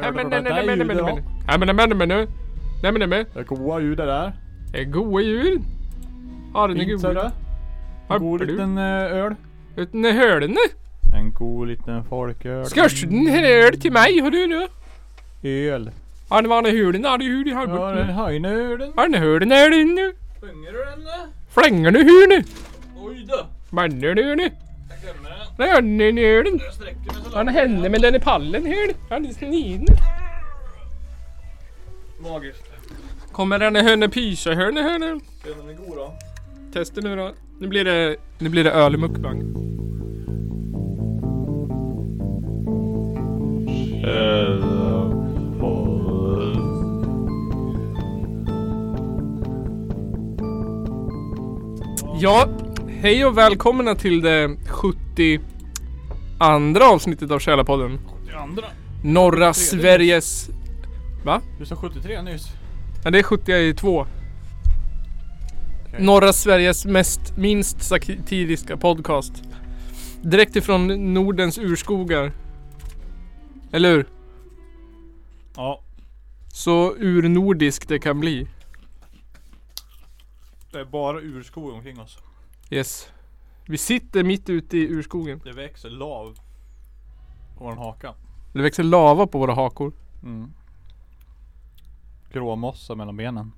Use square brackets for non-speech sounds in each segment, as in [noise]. Nej men nej nej nej nej nej nej. Nej men nej men nu. Nej men nej men. Det är goa ljud det där. Det är goa djur. Har ni Fint goda? sörre. En god liten eh, öl. Utan hölne. En god liten folköl. Skörs den här öl till mig hördu nu. Öl. Har ni vanlig hulen? Har du hul i Ja halvburken? den höjne ölen. Har ni hulen här nu? Sjunger du den eller? Flänger du hur nu? Oj då. Bannar du nu? Jag glömmer den. Rör ni hulen? Jag sträcker mig så Har ni henne med den i pallen hul? Har ni sniden? Magiskt. Kommer den hönne pysa hörne hörne? Den är god då. Testa nu då. Nu blir det, nu blir det öl i mukbang. Ja, hej och välkomna till det 72 avsnittet av Källarpodden. Det andra. 73. Norra Sveriges... Va? Du sa 73 nyss. Nej, det är 72. Okej. Norra Sveriges mest, minst satiriska podcast. Direkt ifrån Nordens urskogar. Eller hur? Ja. Så urnordisk det kan bli. Det är bara urskog omkring oss. Yes. Vi sitter mitt ute i urskogen. Det växer lav. På vår haka. Det växer lava på våra hakor. Mm. Gråmossa mellan benen.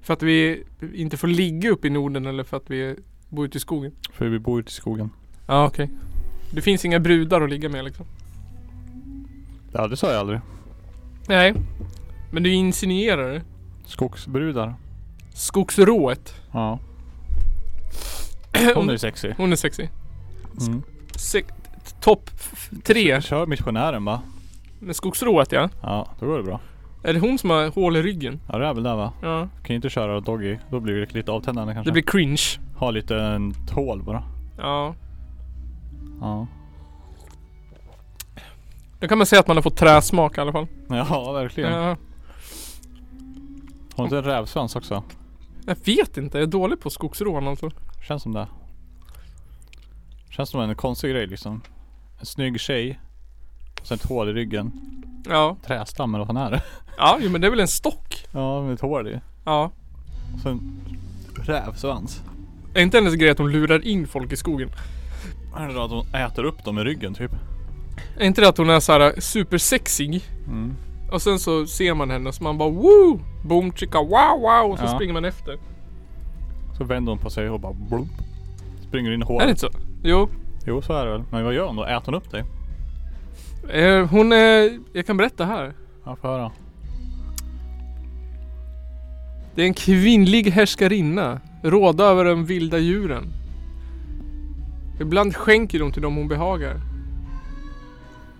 För att vi inte får ligga uppe i Norden eller för att vi bor ute i skogen. För vi bor ute i skogen. Ja okej. Det finns inga brudar att ligga med liksom. Ja det sa jag aldrig. Nej. Men du insinuerar det. Skogsbrudar. Skogsrået. [clears throat] Ja. Hon är Hon, ju sexig. hon är sexig. Mm. Se- Topp f- tre Kör missionären va? med skogsrået ja. Ja, då går det bra. Är det hon som har hål i ryggen? Ja det är väl det va? Ja. Kan ju inte köra Doggy. Då blir det lite avtändande kanske. Det blir cringe. Ha lite en tål bara. Ja. Ja. [laughs] Då kan man säga att man har fått träsmak i alla fall. Ja verkligen. Ja. Har inte en rävsvans också? Jag vet inte. Jag är dålig på skogsrån alltså. Känns som det. Känns som en konstig grej liksom. En snygg tjej. Och sen ett hål i ryggen. Ja. Trästam eller vad fan är det? Ja, jo, men det är väl en stock? [laughs] Ja med ett hål i. Ja. Och sen rävsvans. Är inte hennes grej att hon lurar in folk i skogen? Eller att hon äter upp dem i ryggen typ. Är inte det att hon är såhär supersexig? Mm. Och sen så ser man henne och så man bara woo! Boom chicka wow wow! Och så Ja. springer man efter. Så vänder hon på sig och bara blump. Springer in i Är det hålet. inte så? Jo. Jo så är det väl. Men vad gör hon då? Äter hon upp dig? Eh, hon är... Jag kan berätta här. Ja får höra. Det är en kvinnlig härskarinna. Råda över de vilda djuren. Ibland skänker hon till dem hon behagar.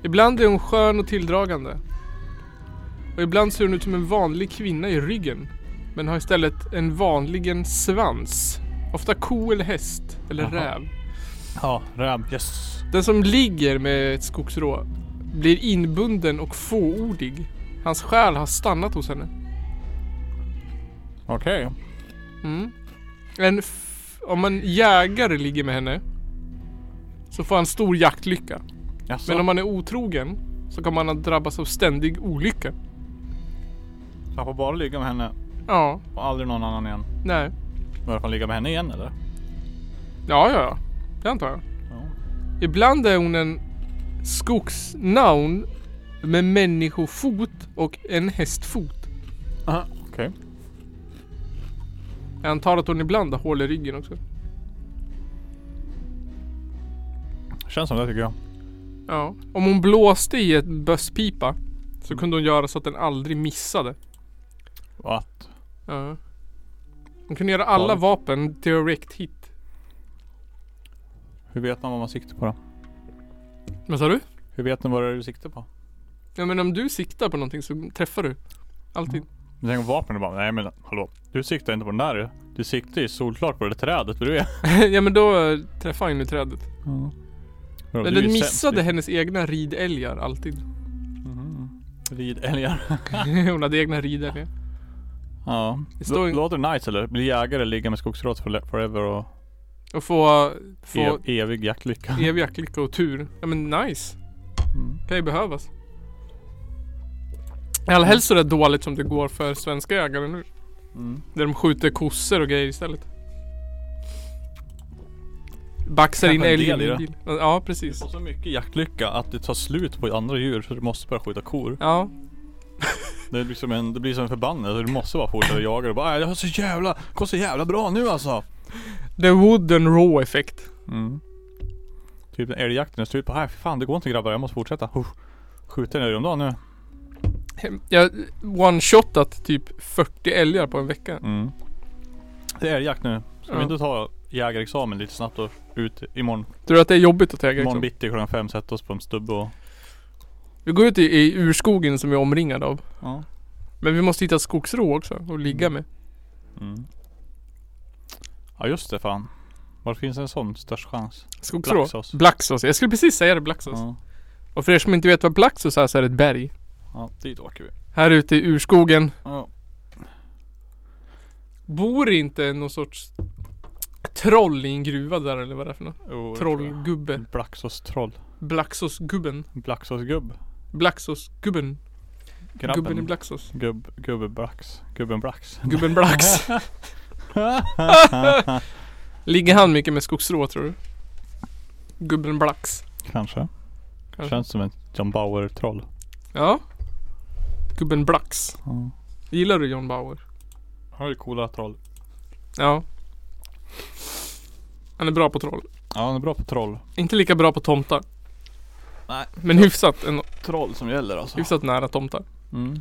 Ibland är hon skön och tilldragande. Och ibland ser hon ut som en vanlig kvinna i ryggen. Men har istället en vanligen svans. Ofta ko eller häst. Eller Jaha. räv. Ja räv. Yes. Den som ligger med ett skogsrå blir inbunden och fåordig. Hans själ har stannat hos henne. Okej. Mm. En f- om en jägare ligger med henne så får han stor jaktlycka. Jaså? Men om man är otrogen så kan man drabbas av ständig olycka. Han får bara ligga med henne Ja, och aldrig någon annan igen. nej. Men får han ligga med henne igen eller? Ja, ja, ja. Det antar jag. Ja. Ibland är hon en skogsnaun med människofot och en hästfot. Aha, okej. Jag antar att hon ibland har hål i ryggen också. Känns som det tycker jag. Ja. Om hon blåste i ett bösspipa så kunde hon göra så att den aldrig missade. Att. Ja. Hon kunde göra alla Farligt. vapen direct hit. Hur vet man vad man siktar på då? Vad sa du? Hur vet man vad det är du siktar på? Ja men om du siktar på någonting så träffar du. Alltid. Du tänker på vapnen och bara, nej men hallå. Du siktar inte på den där du. Du siktar ju solklart på det där trädet bredvid. [laughs] ja men då eh, träffar han ju trädet. Ja. Men den missade hennes egna ridälgar alltid. [laughs] Mm. Ridälgar. Hon hade egna ridälgar. Ja. Det står Lå- ju- Låter det nice eller? Bli jägare, ligga med skogsrått for- forever och Och få, ev- få evig jaktlycka. E- evig jaktlycka och tur. Ja men nice. Mm. Kan ju behövas. Allra helst så där dåligt som det går för svenska jägare nu. Mm. Där de skjuter kossor och grejer istället. Baxar in Kanske en älgen del i i det. en bil. Ja Du precis. får så mycket jaktlycka att det tar slut på andra djur så du måste börja skjuta kor. Ja. Det, blir som en, det blir som en förbannelse, Alltså, du måste bara fortsätta jaga och bara "Äh, det var så jävla, det går så jävla bra nu alltså. The wood and raw effekt. Mm. Typ när älgjakten är slut på, här för fan det går inte grabbar, jag måste fortsätta. Huff. Skjuter en älg om dagen nu. Jag one-shotat typ 40 älgar på en vecka. Mm. Det är älgjakt nu. Ska Ja. vi inte ta jägarexamen lite snabbt och ut imorgon, Tror du att det är jobbigt att ta imorgon jägarexamen? bitti klockan fem sätta oss på en stubbe och.. liksom? Vi går ut i, i urskogen som vi är omringade av. Ja. Men vi måste hitta skogsrå också och ligga med. Mm. Ja just det fan. Var finns en sån störst chans? Skogsrå? Blacksos. Blacksos. Jag skulle precis säga det, Blacksos. Ja. Och för er som inte vet vad Blacksos är så är det ett berg. ja, dit åker vi. Här ute i urskogen Ja. Bor inte någon sorts troll i en gruva där eller vad det är för något? Jo, oh, det tror jag. Mm. Trollgubbe. Blacksos troll. Blaxos-gubben. Blacksos gubb. Blaxos-gubben. Grabben. Gubben [laughs] i Blaxos. Gubb, gubbe Brax. Gubben Brax. Gubben Blax. Ligger han mycket med skogsrå tror du? Gubben Blax. [laughs] Kanske. Kanske. Känns som ett John Bauer troll. Ja. Gubben Blax. Ja. Gillar du John Bauer? Han är coola troll. Ja. Han är bra på troll. Ja han är bra på troll. Inte lika bra på tomtar. Nej. Men hyfsat, en, Troll som gäller alltså. hyfsat nära tomtar. Mm.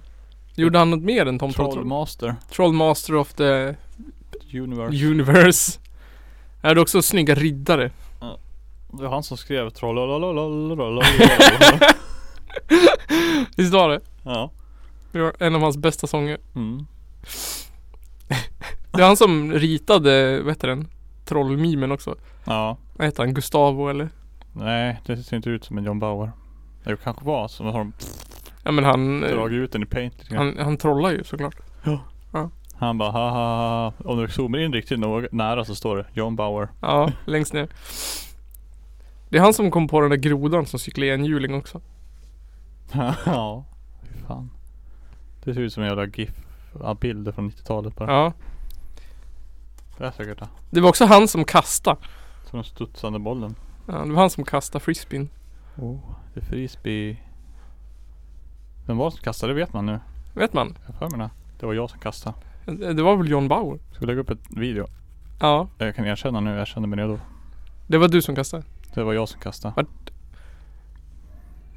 Gjorde han något mer än tomtar? tror du? Trollmaster. Trollmaster of the Universe. Universe. Är det också snygga riddare? det var han som skrev troll. [laughs] Visst var det? ja. Det var en av hans bästa sånger. Mm. Det är han som ritade, vad heter den? Trollmimen också. Ja. Vad heter han? Gustavo eller? Nej det ser inte ut som en John Bauer. Det kanske var så. men Har de Ja men han, eh, dragit ut den i paint lite grann. han, han trollar ju såklart. Han bara ha ha ha. Om du zoomar in riktigt nog- nära så står det John Bauer. [laughs] Ja, längst ner. Det är han som kom på den där grodan som cyklar i en hjuling också. ja, fy fan. Det ser ut som en jävla GIF. ja, Bilder från 90-talet bara. Ja. Det är säkert det. Det var också han som kastade. Som den studsande bollen. Ja, det var han som kastade frisbeen. Oh, det är frisbee. Vem var det som kastade? Det vet man nu. Vet man? Jag har för mig det. Det var jag som kastade. Det det var väl John Bauer? Ska vi lägga upp ett video? Ja. Jag kan erkänna nu. Jag känner mig redo. Det var du som kastade. Det var jag som kastade.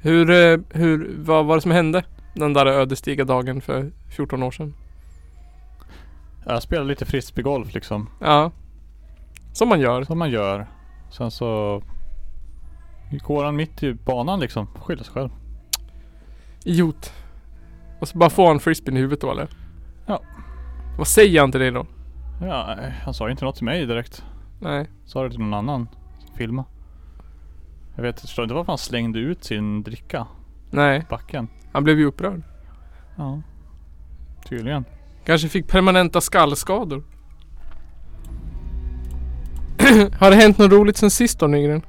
Hur, eh, hur, vad var det som hände den där ödesdigra dagen för 14 år sedan? Jag spelade lite frisbeegolf liksom. Ja. Som man gör. Som man gör. Sen så går han mitt i banan liksom. Skyller sig själv. Idiot. Och så bara få en frisbeen i huvudet då eller? Ja. Vad säger han till dig då? Ja, han sa ju inte något till mig direkt. Nej. Sa det till någon annan som filmade. Jag vet jag förstår inte varför han slängde ut sin dricka Nej. i backen. Han blev ju upprörd. Ja. Tydligen. Kanske fick permanenta skallskador. [clears throat] Har det hänt något roligt sen sist då Nygren?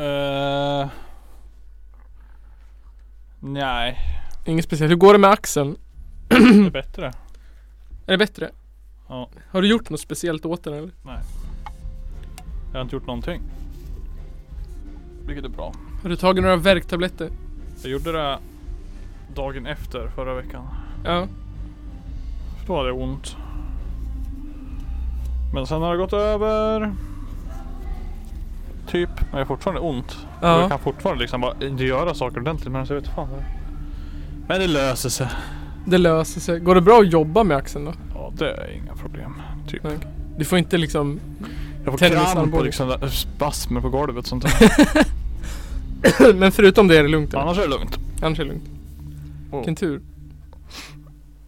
Uh, nej. Inget speciellt. Hur går det med axeln? Det är bättre. Är det bättre? Ja. Har du gjort något speciellt åt den eller? Jag har inte gjort någonting. Vilket är bra. Har du tagit några värktabletter? Jag gjorde det dagen efter förra veckan. Ja. För Då hade jag ont. Men sen har det gått över. Typ. Men jag har fortfarande ont. Och jag Ja. kan fortfarande liksom bara inte göra saker ordentligt men så vet fan vad det är. Men det löser sig. Det löser sig. Går det bra att jobba med axeln då? Ja det är inga problem. Typ. Nej. Du får inte liksom... [clears throat] Jag får Tennis kramp armbåge. och liksom där- spasmer på golvet och sånt där. [laughs] Men förutom det är det lugnt eller? Annars är det lugnt. Annars är det lugnt. Oh. Vilken tur.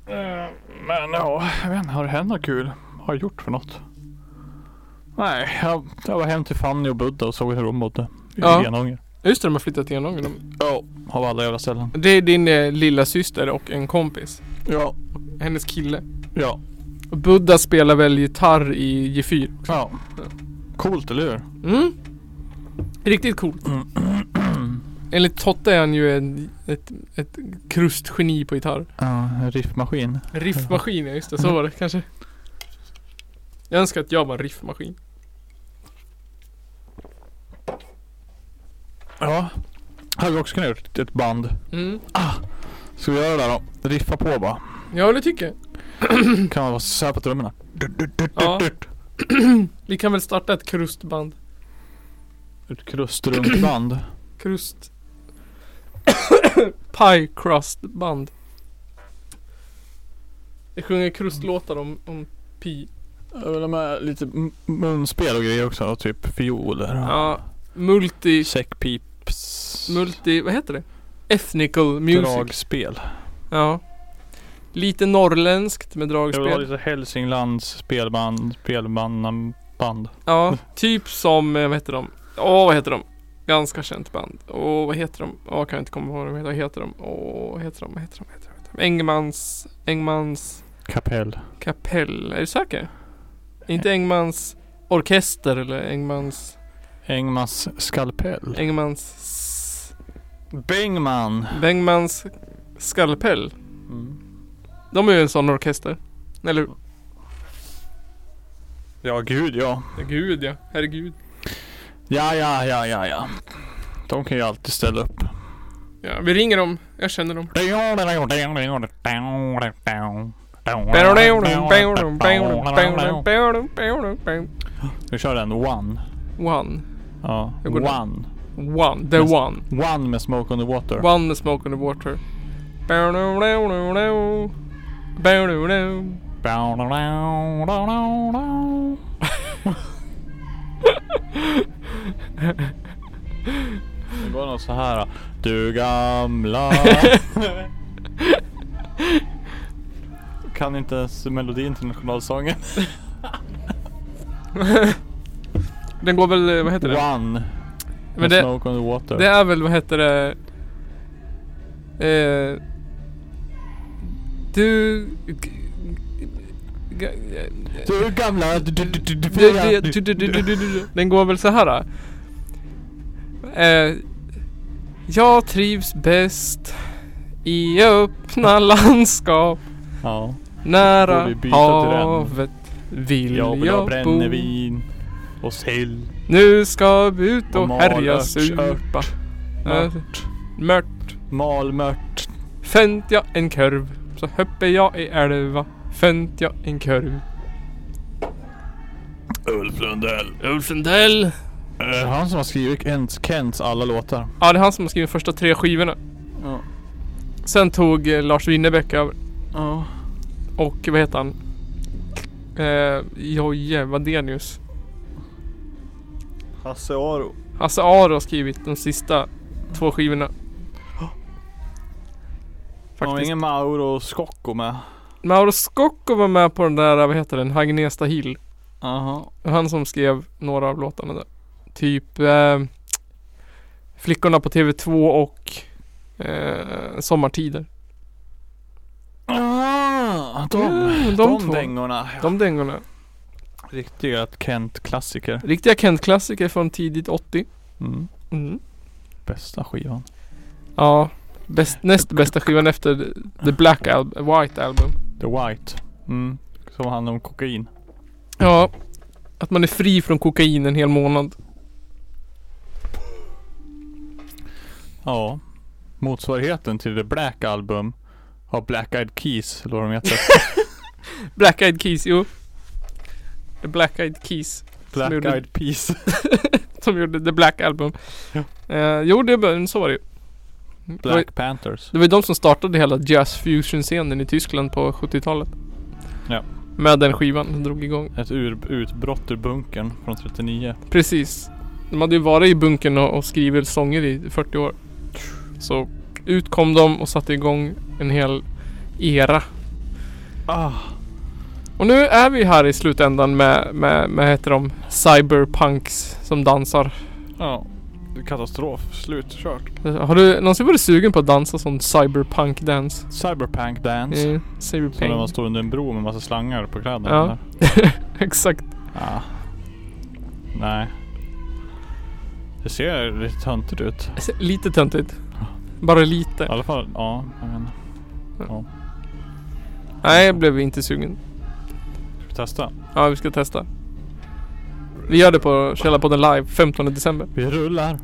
Eh, Men ja, jag vet inte. Har det hänt något kul? Har jag gjort för något? Nej, jag, jag var hem till Fanny och Budda och såg hur de bodde. I Ja. Enånger. Just det, de har flyttat igenom dem. Ja. Av alla jävla ställen. Det är din eh, lilla syster och en kompis. Ja. Hennes kille. Ja. Och Buddha spelar väl gitarr i G4? ja. Coolt eller hur? Mm. Riktigt coolt. Enligt Totte är han ju en, ett, ett krustgeni på gitarr. Ja, en riffmaskin. Riffmaskin, ja just det. Så var det kanske. Jag önskar att jag var en riffmaskin. Ja. Hade vi också kunnat gjort ett band. Mm. Ska vi göra det där då? Riffa på bara. Ja, det tycker jag. Kan man vara så här på trummorna? Ja. [clears throat] Vi kan väl starta ett krustband. Ett krustrunkband. Krust... [coughs] Pie crust band. Jag sjunger krustlåtar om, om pi. Jag vill ha med lite m- munspel och grejer också. Typ fioler och Ja. Multi... säckpips. Multi... Vad heter det? Ethnical music. Dragspel. Ja. Lite norrländskt med Jag vill ha dragspel. lite Hälsinglands spelband, spelmannaband. Ja, typ som, eh, vad heter de? Åh, vad heter de? Ganska känt band. Åh, vad heter de? Åh, kan jag inte komma ihåg vad de heter. Vad heter de? Åh, vad heter de? Vad heter de? Vad heter de? Vad heter de? Engmans... Engmans Kapell. kapell. Är du säker? Inte Engmans orkester eller Engmans... Engmans skalpell. Engmans... s- Bengman. Bengmans skalpell. Mm. De är ju en sån orkester. Eller hur? Ja, gud ja. Ja, Gud ja. Herregud. Ja, ja, ja, ja, ja. De kan ju alltid ställa upp. Ja, vi ringer dem. Jag känner dem. Vi kör den One. One. Ja, Jag går där. One. One. The one. One med Smoke on the Water. One the smoke on the water. Det går något så här. då. Du [laughs] gamla. kan inte ens melodin till nationalsången. Den går väl, eh, vad heter det? One. Men med det- Smoke on the Water. Det är väl, vad heter det? Eh, du... g- g- Du gamla. Du, du, du, du, du, Du- du- du- du- du- du- du- du- Den går väl så här. då. Eh, jag trivs bäst i [laughs] öppna landskap Ja. Får nära vi byta till den? havet. Vill Jag jag, vill ha bo. brännevin. Och sill. Nu ska vi ut Och och mal, härja ört, supa. ört. Eh, Mört. Mört. Malmört. Fänt jag en kurv så hoppar jag i älva. Fänt jag en kurv. Ulf Lundell. Ulf Lundell. Är det han som har skrivit Kents, Kents alla låtar? Ja, det är han som har skrivit första tre skivorna. Ja. Sen tog eh, Lars Winnerbäck över. Ja. Och vad heter han? Eh, Jojje Wadenius. Hasse Aro. Hasse Aro har skrivit de sista två skivorna. Har Faktiskt. ingen Mauro Scocco med? Mauro Scocco var med på den där, vad heter den, Hagnesta Hill. Aha. Det var Han som skrev några av låtarna där. Typ eh, Flickorna på TV2 och eh, Sommartider. Ah, de, Mm, de de, två. dängorna. Ja. De dängorna. Riktiga Kent-klassiker. Riktiga Kent-klassiker från tidigt 80. Mm. Mm. Bästa skivan. Ja. Bäst, näst bästa skivan efter The Black Album, White Album. The White. Mm. Som handlar om kokain. Ja. Att man är fri från kokain en hel månad. Ja. Motsvarigheten till The Black Album har Black Eyed Keys, eller vad de [laughs] heter. Black Eyed Keys, jo. The Black Eyed Keys. Black gjorde- Eyed Peas. Som gjorde The Black Album. Ja. Eh, jo, det, var- så var det ju. Det var- Black Panthers. Det var ju de som startade hela jazz fusion scenen i Tyskland på 70-talet. Ja. Med den skivan som drog igång. Ett ur, utbrott ur bunkern från 39. Precis. De hade ju varit i bunkern och, och skrivit sånger i 40 år. Så ut kom de och satte igång en hel era. Ah. Och nu är vi här i slutändan med, med, med heter de, cyberpunks som dansar. Ja. Katastrof. Slut. Kört. Har du någonsin varit sugen på att dansa sån cyberpunk-dance? Cyberpunk Dance. Som när Eh, man [laughs] cyberpunk. står under en bro med massa slangar på kläderna. Ja. eller? Ah. Exakt. Ja. Nej. Det ser lite töntigt ut. S- Lite töntigt. Bara lite. I alla fall, ja. Jag vet inte. Ja. Nej, jag blev inte sugen. Ska vi testa? Ja, vi ska testa. Vi gör det på Källarpodden live 15 december. Vi rullar.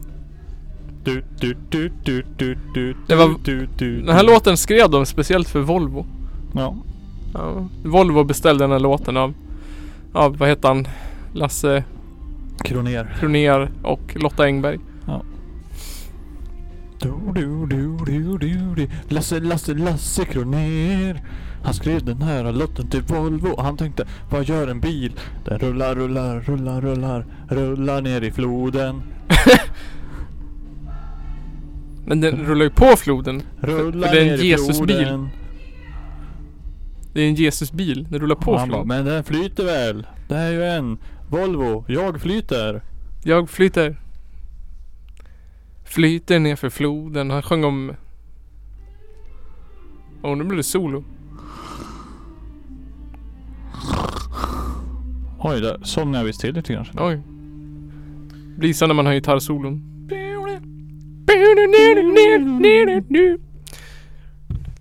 Du, du, du, du, du, du, Det var- du, du, du. Den här låten skrev de speciellt för Volvo. Ja. Ja, Volvo beställde den här låten av, av vad heter han? Lasse Kroner. Kronér och Lotta Engberg. Du, du, du, du, du, du. Lasse, Lasse, Lasse Kroner. Han skrev den här lotten till Volvo och han tänkte, vad gör en bil? Den rullar, rullar, rullar, rullar, rullar ner i floden. Men den rullar ju på floden. Mm. Rullar för det är en ner i Jesusbil. floden. Det är en Jesusbil. Den rullar på Och han bara, floden. men den flyter väl? Det här är ju en Volvo. Jag flyter. Jag flyter. Flyter ner för floden. Han sjöng om... Åh, nu blir det solo. Oj, där somnade jag visst till lite kanske. Oj. Blir så när man har gitarrsolon.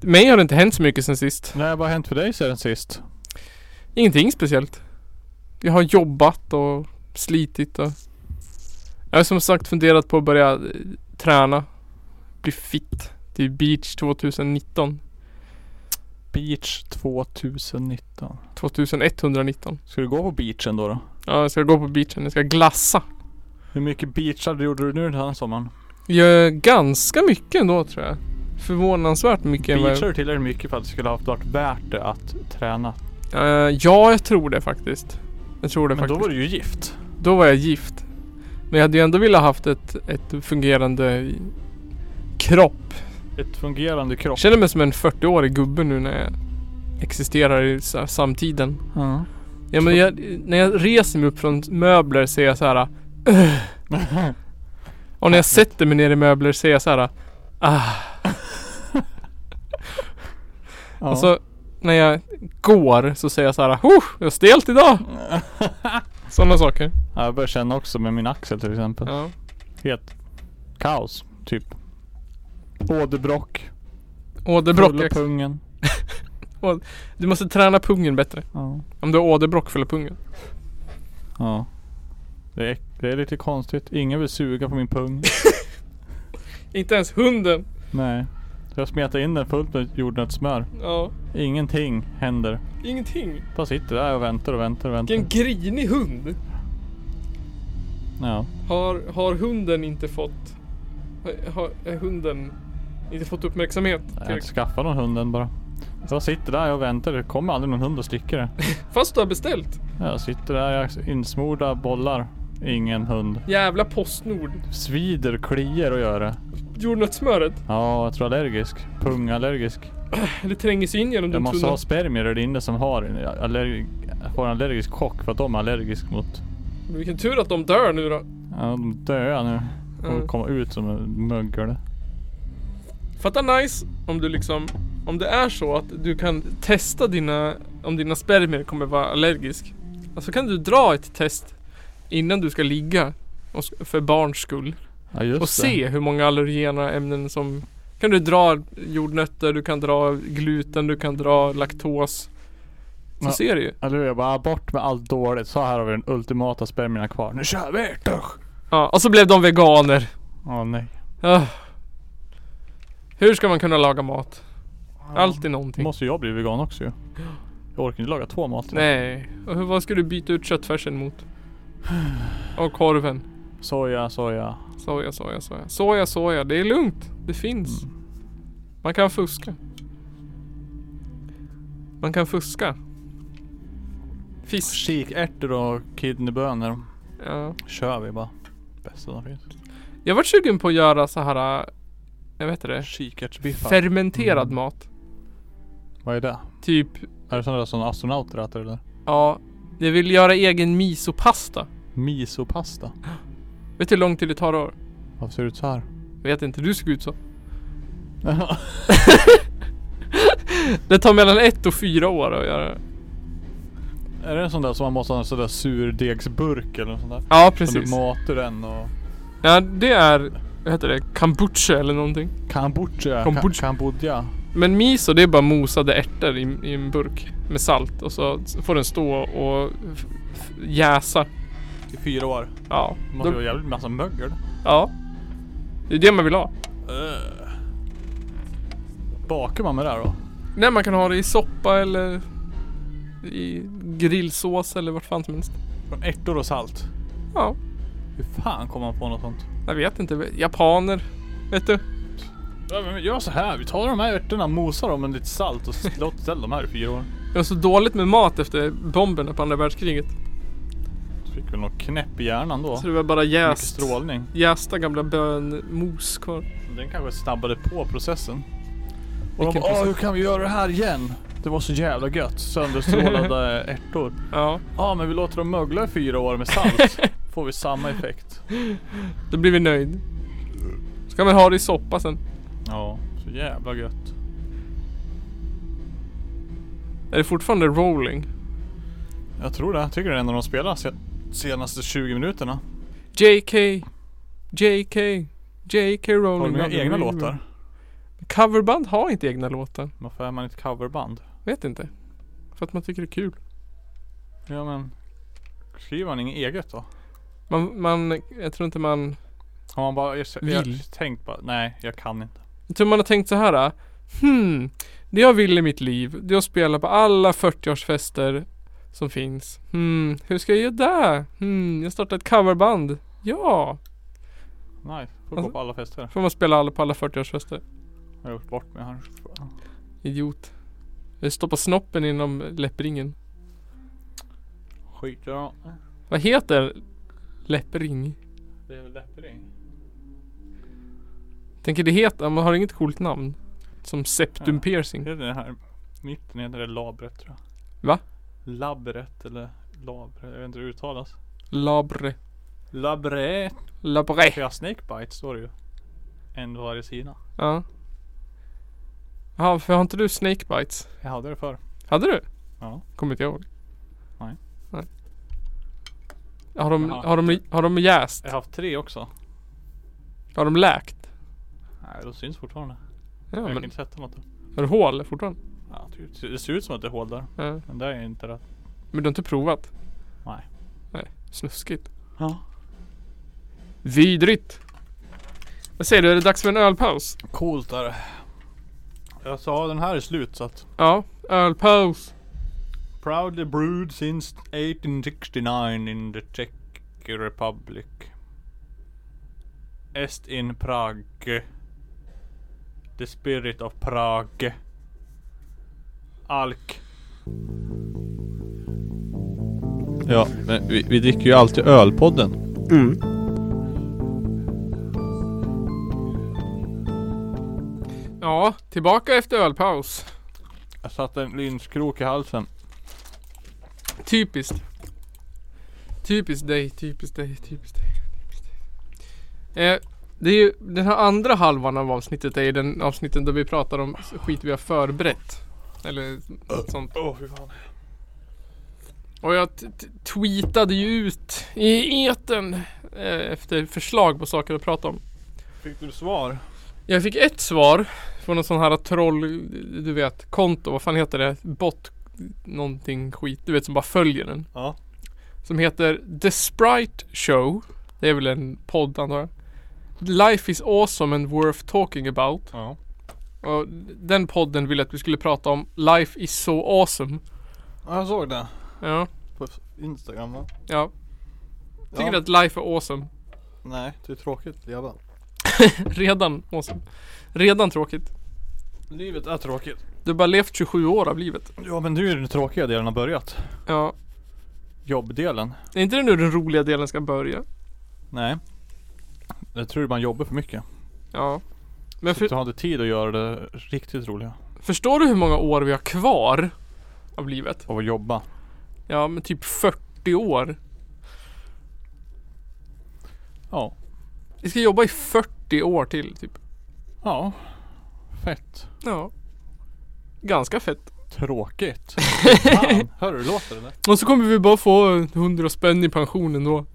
Mig har det inte hänt så mycket sen sist. Nej, vad har hänt för dig sedan sist? Ingenting speciellt. Jag har jobbat och slitit och... Jag har som sagt funderat på att börja eh, träna. Bli fit till beach 2019. Beach 2019. 2119. Ska du gå på beachen då? då? Ja, jag ska gå på beachen. Jag ska glassa. Hur mycket beachar gjorde du nu den här sommaren? Gör ganska mycket ändå tror jag. Förvånansvärt mycket. än vad jag- Beachar du tillräckligt mycket för att det skulle ha varit värt det att träna? Eh, ja, jag tror det faktiskt. Jag tror det Men då faktiskt. var du ju gift. Då var jag gift. Men jag hade ju ändå velat haft ett, ett fungerande i- kropp. Ett fungerande kropp. Jag känner mig som en 40-årig gubbe nu när jag existerar i så här, samtiden. [laughs] Ja. Ja, men jag, när jag reser mig upp från möbler ser jag så här. Och när jag sätter mig ner i möbler ser jag så här. ja. Och så när jag går så säger jag så här. Oh, jag är stelt idag. Sådana saker. Ja, jag börjar känna också med min axel till exempel. Ja. Helt kaos, typ. Åderbråck. Åderbråck. fulla jag- pungen. Du måste träna pungen bättre. Ja. Om du har åderbråck fulla pungen. ja. Det är, det är lite konstigt. Ingen vill suga på min [laughs] pung. Inte ens hunden. Nej. Så jag smetar in den fullt med jordnötssmör. Ja. Ingenting händer. Ingenting. Bara sitter där och väntar och väntar och väntar. Vilken grinig hund. Ja. Har, har hunden inte fått... Har, har är hunden inte fått uppmärksamhet? Jag har inte tillräckligt? skaffat någon hund än bara. Jag sitter där och väntar. Det kommer aldrig någon hund och sticker det. Fast du har beställt. Jag sitter där, jag insmorda bollar. Ingen hund. Jävla Postnord. Svider, kliar och gör det. Jordnötssmöret. [clears throat] Ja, jag tror allergisk. Pungallergisk. Det tränger sig in genom Jag din måste tunna. ha spermier där inne som har en, allerg har en allergisk chock för att de är allergisk mot... Men Vilken tur att de dör nu då. Ja, de dör nu. Ja. Och komma ut som en mögel. Fatta nice om du liksom... Om det är så att du kan testa dina... Om dina spermier kommer vara allergisk. Alltså kan du dra ett test innan du ska ligga. och s- För barns skull. Ja, just och det. se hur många allergena ämnen som kan du dra jordnötter, du kan dra gluten, du kan dra laktos. Så Ja. ser du ju. Eller hur? Jag bara "Ah, bort med allt dåligt. Så här har vi den ultimata spermierna kvar. Nu kör vi! Dusch! Ja, och så blev de veganer. Åh nej. Ah. Hur ska man kunna laga mat? Alltid Då någonting. måste jag bli vegan också ju. Jag orkar inte laga två mat. Nej. Och hur- vad ska du byta ut [sighs] köttfärsen mot? Och korven. Soja, soja. Soja, soja, soja. Soja, soja. Det är lugnt. Det finns. Mm. Man kan fuska. Man kan fuska. Fisk. Kikärtor och kidneybönor. Ja. Kör vi bara. Bästa som finns. Jag var sugen på att göra så här. äh, Jag vet inte det. Kikärtsbiffar. Fermenterad Mm. mat. Vad är det? Typ, Är det sådana där som astronauter äter eller? ja. Jag vill göra egen misopasta. Misopasta. Vet du hur lång tid det tar att... Varför ser det ut så här? [laughs] Vet inte, du såg ut så. Det tar mellan ett och fyra år att göra det. är det en sån där som man måste ha en sån där surdegsburk eller något sånt där? Ja, Som du precis. matar den och... Ja, det är, vad heter det, kombucha eller någonting. Kambucha. Kombucha. Kambodja. Men miso det är bara mosade ärtor i, i en burk med salt och så får den stå och f- f- jäsa. I fyra år. Ja. Det måste Då, vara jävligt massa mögel. ja. Det är det man vill ha. Uh. Bakar man med det här då? Nej man kan ha det i soppa eller i grillsås eller vart fan som helst. Från ärtor och salt. Ja, Hur fan kom man på något sånt? jag vet inte. Japaner. Vet du? Ja, men gör så här. Vi tar de här ärtorna, mosar dem med lite salt och s- låt ställa dem här i fyra år. Det var så dåligt med mat efter bomberna på andra världskriget. Så fick väl något knäpp i hjärnan då. Så det var bara Mycket jäst. strålning. Jästa gamla bönmos kvar. Den kanske snabbade på processen. Och de Vilken bara, "Åh, process?" hur kan vi göra det här igen? Det var så jävla gött. [laughs] Sönderstrålade ärtor. Ja. Ja, men vi låter dem mögla i fyra år med salt. [laughs] Får vi samma effekt. Då blir vi nöjd. Ska man ha det i soppa sen. Ja, så jävla gött. Är det fortfarande rolling? Jag tror det. Jag tycker det är en av de spelar se- senaste 20 minuterna. JK. JK. JK Rowling. Har de inga hade egna River. låtar? Coverband har inte egna låtar. Varför är man ett coverband? Vet inte. För att man tycker det är kul. Ja men... Skriver man inget eget då? Man, man jag tror inte man... Har man bara ers- Vill. ers- tänkt bara, nej jag kan inte. Jag tror man har tänkt så här. äh, Hmm. Det jag vill i mitt liv, det är att spela på alla 40-årsfester som finns. Hmm. Hur ska jag göra det? Hmm. Jag startar ett coverband. Ja. Nej, får Alltså- gå på alla fester. Får man spela alla på alla 40-årsfester. Jag har gjort bort mig här. Idiot. Jag stoppar snoppen inom läppringen. Skit ja. Vad heter läppring? Det är väl Mm. läppring? Tänker det heter, man har inget coolt namn. Som septum Ja. piercing. Det är det här mitten heter det labret tror jag. Va? Labret eller labre, jag vet inte hur det uttalas. Labre. Labret. Labre. Flera snakebites står det ju. En på varje sida. Ja. Ja, för har inte du snakebites? Jag hade det förr. Hade du? Ja. Kommer inte jag ihåg. Nej. Nej. Har de, Jaha. har de, har de jäst? Jag har haft tre också. Har de läkt? Nej, de syns fortfarande. Ja, jag men kan inte sätta något. har du hål fortfarande? Ja, det- det ser ut som att det är hål där. Ja. Men det är inte rätt. Men du har inte provat? Nej. Nej, snuskigt. Ja. Vidrigt! Vad säger du, är det dags för en ölpaus? Coolt är det. Jag sa den här är slut så att. Ja, ölpaus. Proudly brewed since 1869 in the Czech Republic. Est in Prague. The spirit of Prague. Alk. Ja, men vi, vi dricker ju alltid ölpodden. Mm. Ja, tillbaka efter ölpaus. Jag satte en linskrok i halsen. Typiskt. Typiskt dig, typiskt dig, typiskt dig. typiskt dig. Eh, det är ju den här andra halvan av avsnittet är ju den avsnitten där vi pratar om skit vi har förberett. Eller sånt. Åh oh, fy fan. Och jag t- t- tweetade ju ut i etern eh, efter förslag på saker att prata om. Fick du svar? Jag fick ett svar från en sån här troll, du vet, konto, vad fan heter det? Bot någonting skit, du vet som bara följer den. Ja. Som heter The Sprite Show. Det är väl en podd antar jag. Life is awesome and worth talking about. Ja. Och den podden ville att vi skulle prata om Life is so awesome. Jag såg det. Ja, På Instagram va? ja. Tycker du Ja. att life är awesome? [laughs] Nej, det är tråkigt redan. Redan awesome. Redan tråkigt. Livet är tråkigt. Du har bara levt 27 år av livet. Ja men nu är den tråkiga delen har börjat. Ja. Jobbdelen. Är inte det nu den roliga delen ska börja? Nej. Jag tror man jobbar för mycket. Ja. Men Så för, att du har inte tid att göra det riktigt roliga. förstår du hur många år vi har kvar av livet? Av att jobba. Ja, men typ 40 år. Ja. Vi ska jobba i 40 år till typ. Ja. Fett. Ja. Ganska fett. [laughs] Tråkigt. Fan. Hör du hur det låter det där? Och så kommer vi bara få 100 spänn i pension ändå.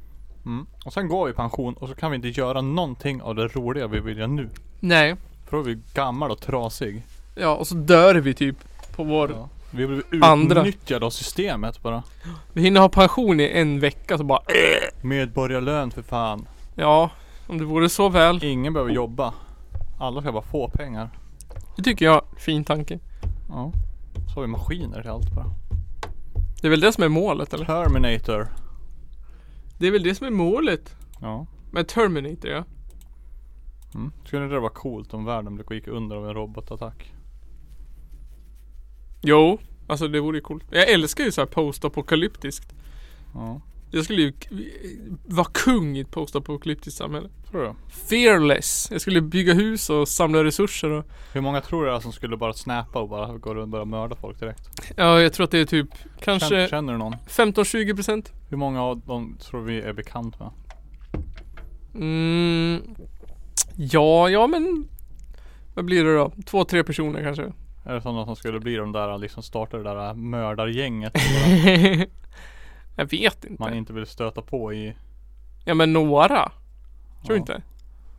Mm. Och sen går vi i pension och så kan vi inte göra någonting av det roliga vi vill göra nu. Nej. För då är vi gammal och trasig. Ja, och så dör vi typ på vår... Ja. Vi blir Andra. utnyttjade av systemet bara. Vi hinner ha pension i en vecka så bara... Medborgarlön för fan. Ja, om det vore så väl. Ingen behöver jobba. Alla ska bara få pengar. Det tycker jag. Fin tanke. Ja. Så har vi maskiner till allt bara. Det är väl det som är målet eller? Terminator. Det är väl det som är målet. Ja. Med Terminator ja. Mm. Skulle det vara coolt om världen gick under av en robotattack? Jo. Alltså det vore ju coolt. Jag älskar ju så här postapokalyptiskt. Ja. Jag skulle ju k- vara kung i ett postapokalyptiskt samhälle. Tror du? Fearless. Jag skulle bygga hus och samla resurser och Hur många tror du är som skulle bara snappa och bara gå runt och börja mörda folk direkt? Ja, jag tror att det är typ Känner, kanske känner du någon? 15-20 procent. Hur många av dem tror vi är bekant med? Mm. Ja, ja men vad blir det då? Två, tre [laughs] personer kanske. Är det sådana som skulle bli de där liksom starta det där mördargänget [laughs] jag vet inte. man inte vill stöta på i? Ja men några. Tror du ja. inte?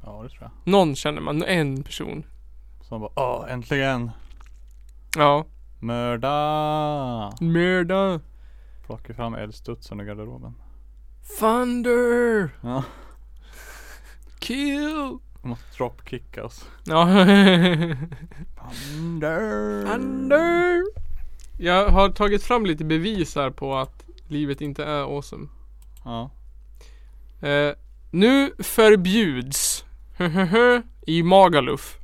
Ja det tror jag. Någon känner man, en person. Som bara åh äntligen! Ja. Mörda! Mörda. Plockar fram eldstudsen ur garderoben. Thunder. Ja. Kill. Måste droppkickas. Ja. [laughs] Thunder! Thunder. Jag har tagit fram lite bevis här på att livet inte är awesome. Ja. Eh, nu förbjuds i Magaluf.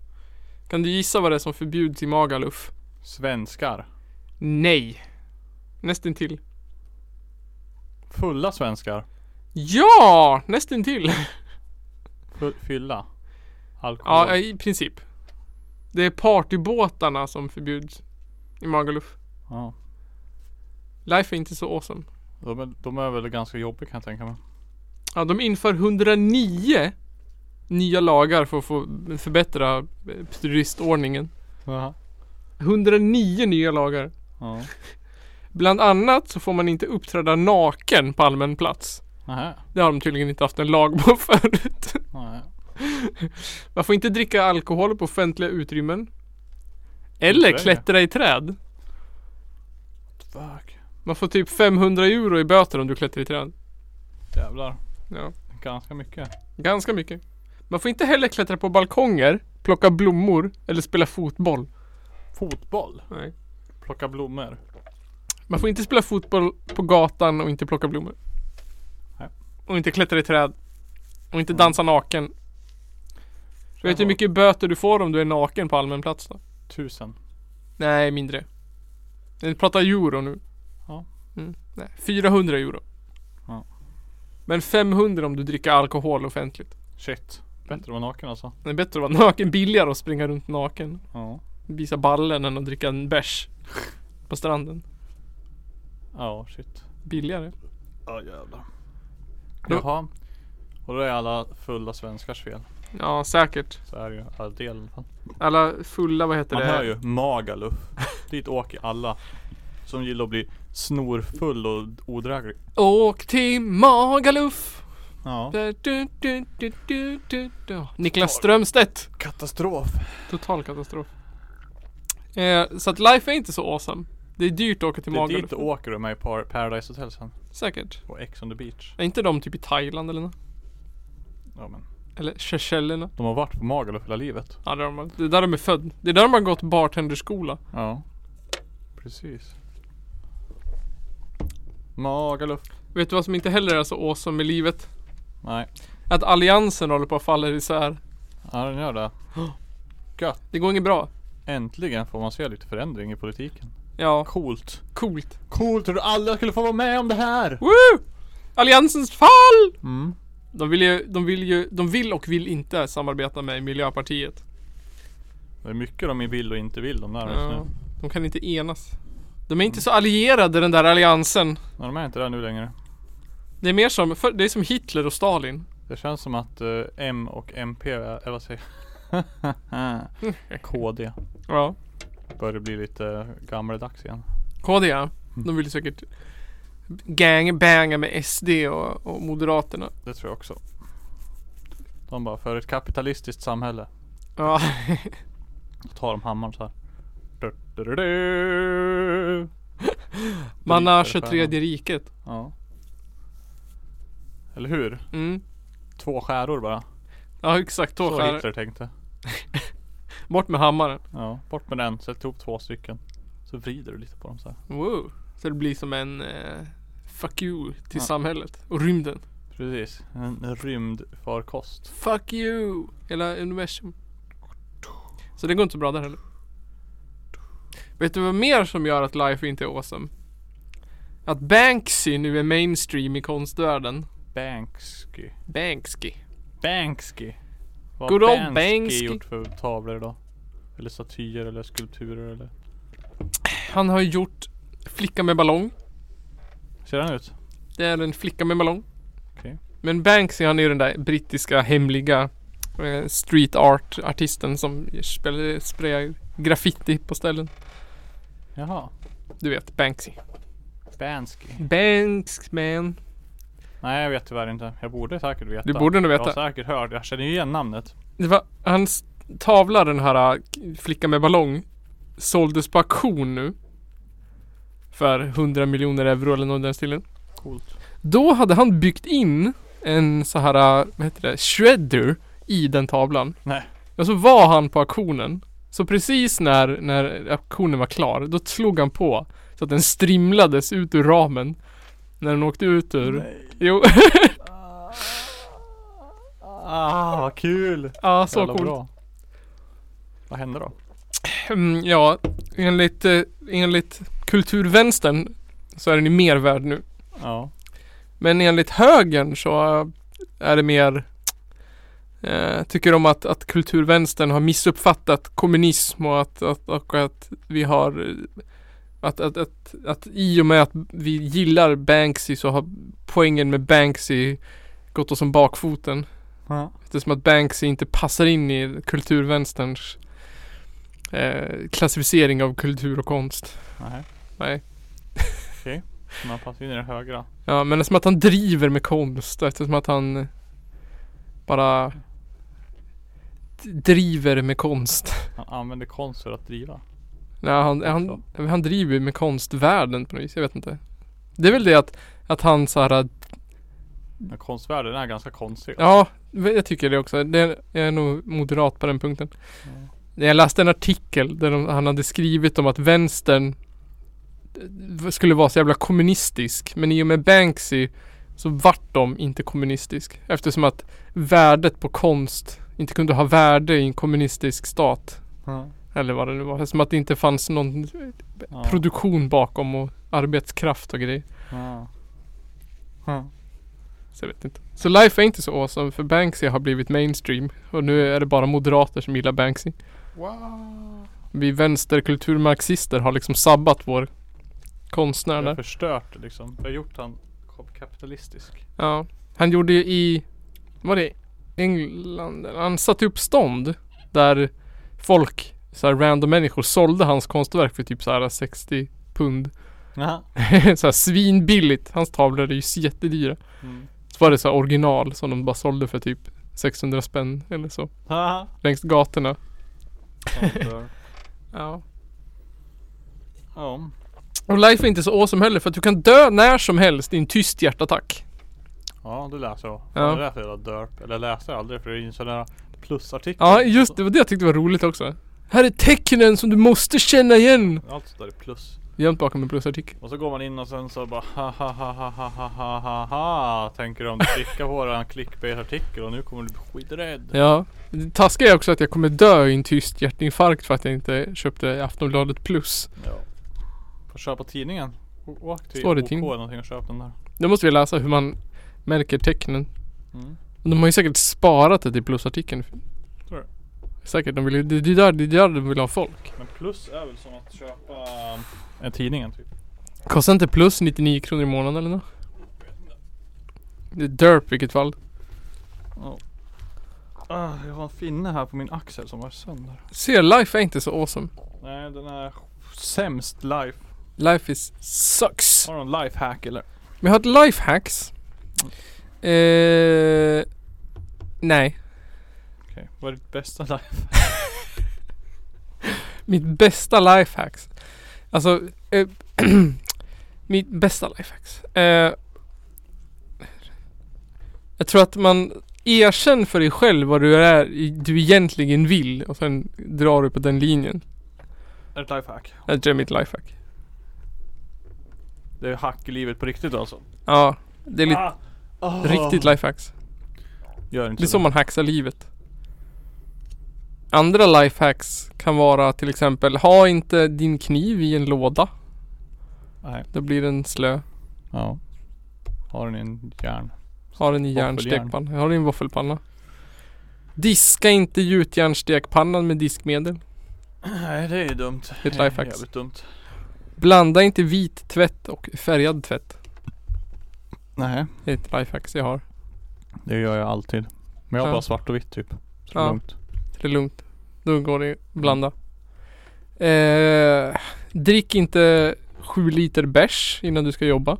Kan du gissa vad det är som förbjuds i Magaluf? Svenskar. Nej. Nästintill. Fulla svenskar. Ja! Nästintill. Full, fylla. Alkohol. Ja, i princip. Det är partybåtarna som förbjuds i Magaluf. ja. Life är inte så awesome. De, är- de är väl ganska jobbiga kan jag tänka mig. Ja, de inför 109 nya lagar för att få förbättra eh, turistordningen. Jaha. 109 nya lagar. Ja. Bland annat så får man inte uppträda naken på allmän plats. Nähä. Det har de tydligen inte haft en lag på [laughs] förut. Nej. Man får inte dricka alkohol på offentliga utrymmen. Eller Okej. klättra i träd. Fuck. Man får typ 500 euro i böter om du klättrar i träd. Jävlar. Ja, Ganska mycket. ganska mycket. Man får inte heller klättra på balkonger, plocka blommor eller spela fotboll. Fotboll. Nej. Plocka blommor. Man får inte spela fotboll på gatan och inte plocka blommor. Nej. Mm. Och inte klättra i träd. Och inte dansa naken. Vet du hur mycket böter du får om du är naken på allmän plats då? Tusen. Nej, mindre. Vi pratar euro nu. Ja. Mm. Nej, 400 euro. Ja. Men 500 om du dricker alkohol offentligt. Shit. Bättre att vara naken alltså. Det är bättre att vara naken, billigare att springa runt naken. Ja. Visa ballen än att dricka en bärs. [laughs] På stranden. Ja, shit. Billigare. Ja, jävlar. Då- Jaha. Och då är alla fulla svenskars fel. Ja, säkert. Så är det ju. All del i alla fall. Alla fulla, vad heter Man det? hör ju Magaluf. Dit åker alla. Som gillar att bli snorfull och odräglig. Åk till Magaluf. Ja. Du, du, du, du, du, du, du. Niklas Strömstedt. Katastrof. Total katastrof. Eh, så att life är inte så awesome. Det är dyrt att åka till Det är dit Magaluf. du åker du med i Par- Paradise Hotel sen. Säkert. Och Ex on the beach. Är inte de typ i Thailand eller nåt? Ja men. Eller Seychellerna? De har varit på Magaluf hela livet. Ja, det är, de, det är där de är född. Det är där de har gått bartenderskola. Ja. Precis. Magaluf. Vet du vad som inte heller är så awesome med livet? Nej. Att alliansen håller på att falla isär. Ja den gör det. Gött. Det går inget bra. Äntligen får man se lite förändring i politiken. Ja, Coolt. coolt. Coolt att alla skulle få vara med om det här. Woo! Alliansens fall! Mm. De vill ju, de vill ju, de vill och vill inte samarbeta med Miljöpartiet. Det är mycket de vill och inte vill de där just Ja, nu. Eh, de kan inte enas. De är inte så allierade den där alliansen. Men de är inte där nu längre. Det är mer som, för, det är som Hitler och Stalin. Det känns som att eh, M och MP, eller vad säger jag? KD Ja. börjar bli lite eh, gammaldags igen. Mm. KD ja. De vill säkert gangbanga med SD och, och Moderaterna. Det tror jag också. De bara, för ett kapitalistiskt samhälle. Ja, Då tar de hammaren så här. Du, du, du, du. [laughs] Bryter manage och stjärnan. tredje riket. Ja. Eller hur? Mm. Två skäror bara. Ja exakt, två Så stjärnor. Hitler tänkte. Bort med hammaren. Ja. Bort med den, sätt ihop två stycken. Så vrider du lite på dem så här. Wow. Så det blir som en eh, fuck you till Ja. samhället och rymden. Precis. En rymdfarkost. Fuck you! Hela universum. Så det går inte så bra där heller. Vet du vad mer som gör att life inte är awesome? Att Banksy nu är mainstream i konstvärlden. Banksky. Banksy. Banksky. Vad Good Good old Banksky, Banksy. gjort för tavlor då? Eller statyer eller skulpturer eller? Han har gjort Flicka med ballong. Ser den ut? Det är en flicka med ballong. Okej. Men Banksy han är ju den där brittiska hemliga eh, street art artisten som spelar- sprayar graffiti på ställen. Jaha. Du vet Banksy. Banksky. Banksman. Nej jag vet tyvärr inte. Jag borde säkert veta. Du borde nog Jag har veta. säkert hört. Jag känner ju igen namnet. Det var, hans tavla den här eh, flickan med ballong såldes på auktion nu. För 100 miljoner euro eller något i den stilen. Coolt. Då hade han byggt in en så här, eh, vad heter det, shredder i den tavlan. Nej. Och så var han på auktionen. Så precis när, när auktionen var klar, då slog han på. Så att den strimlades ut ur ramen. När den åkte ut ur. Nej. Jo, [laughs] Ah vad kul. ja så Jävla coolt. bra. Vad hände då? Mm, ja, enligt, eh, enligt kulturvänstern så är den ju mer värd nu. Ja. Men enligt högern så eh, är det mer eh, Tycker de att, att kulturvänstern har missuppfattat kommunism och att, att, och att vi har eh, att, att, att, att i och med att vi gillar Banksy så har poängen med Banksy gått oss om bakfoten. Ja. Eftersom att Banksy inte passar in i kulturvänsterns eh, klassificering av kultur och konst. Nej. [laughs] Nej. Man passar in i den högra. Ja, men eftersom att han driver med konst och eftersom att han bara d- driver med konst. Han använder konst för att driva. Nej, han, han, han driver ju med konstvärlden på något vis. Jag vet inte. Det är väl det att, att han så här Men konstvärlden är ganska konstig. Ja, jag tycker det också. Det är, jag är nog moderat på den punkten. Jag läste en artikel där de, han hade skrivit om att vänstern eh, skulle vara så jävla kommunistisk. Men i och med Banksy så vart de inte kommunistisk. Eftersom att värdet på konst inte kunde ha värde i en kommunistisk stat. Ja. Eller vad det nu var. Som att det inte fanns någon Ja. produktion bakom och arbetskraft och grejer. Ja. Ja. Så jag vet inte. Så Life är inte så awesome för Banksy har blivit mainstream. Och nu är det bara moderater som gillar Banksy. Wow. Vi vänsterkulturmarxister har liksom sabbat vår konstnär Jag har där. förstört det liksom. Jag har gjort han kap- kapitalistisk. Ja. Han gjorde ju i, var det England? Han satte upp stånd där folk, så här random människor sålde hans konstverk för typ så här 60 pund. [laughs] Jaha. så här svinbilligt. Hans tavlor är ju jättedyra. Mm. Så var det så här original som de bara sålde för typ 600 spänn eller så. Haha. Längs gatorna. Sånt där. Ja. Ja. Och life är inte så awesome heller för att du kan dö när som helst i en tyst hjärtattack. Ja, det lät så. Ja. Ja. Det lät så jävla derp. Eller jag läste aldrig för det är ju en sån där plusartikel. Ja, just det. var det jag tyckte var roligt också. Här är tecknen som du måste känna igen. Allt sånt där är plus. Gömt bakom en plusartikel. Och så går man in och sen så bara ha ha ha ha ha ha ha ha ha Tänker de klicka på våran clickbait-artikel och nu kommer du bli skiträdd. Ja. Det taskiga är också att jag kommer dö i en tyst hjärtinfarkt för att jag inte köpte Aftonbladet plus. Ja. Får köpa tidningen. Å- Åk till Står det i OK tidningen? någonting och köp den där. Då måste vi läsa hur man märker tecknen. Mm. De har ju säkert sparat det till plusartikeln. Tror du? Säkert. De vill ju, det, det, är där, det är där de vill ha folk. Men plus är väl som att köpa en tidningen typ. Kostar inte plus 99 kronor i månaden eller nåt? Det är derp i vilket fall. Ah, jag har en finne här på min axel som var sönder. Ser life är inte så awesome. Nej den är sämst life. Life is sucks. Har du någon lifehack eller? Men jag har ett lifehacks. Eh, nej. Okej, vad är ditt bästa life? Mitt bästa lifehacks. Alltså, eh, [clears throat] mitt bästa lifehacks. Eh, jag tror att man erkänn för dig själv vad du är, du egentligen vill och sen drar du på den linjen. Är det ett lifehack? Det är mitt lifehack. Det är hack i livet på riktigt alltså? Ja, det är lite Ah! Ah! riktigt lifehacks. Gör inte Det är så man hacksar livet. Andra lifehacks kan vara till exempel, ha inte din kniv i en låda. Nej, Då blir den slö. ja. Har den i en järn? Ha den i Våffeljärn. järnstekpanna. Ha den i en våffelpanna. Diska inte gjutjärnstekpannan med diskmedel. Nej, det är ju dumt. Ett Det är lifehack. Jävligt dumt. Blanda inte vit tvätt och färgad tvätt. Nej, Det är ett lifehacks jag har. det gör jag alltid. Men jag har Ja. bara svart och vitt typ. Så det Ja. är lugnt. Så det är lugnt. Då går det att blanda. Eh, drick inte 7 liter bärs innan du ska jobba.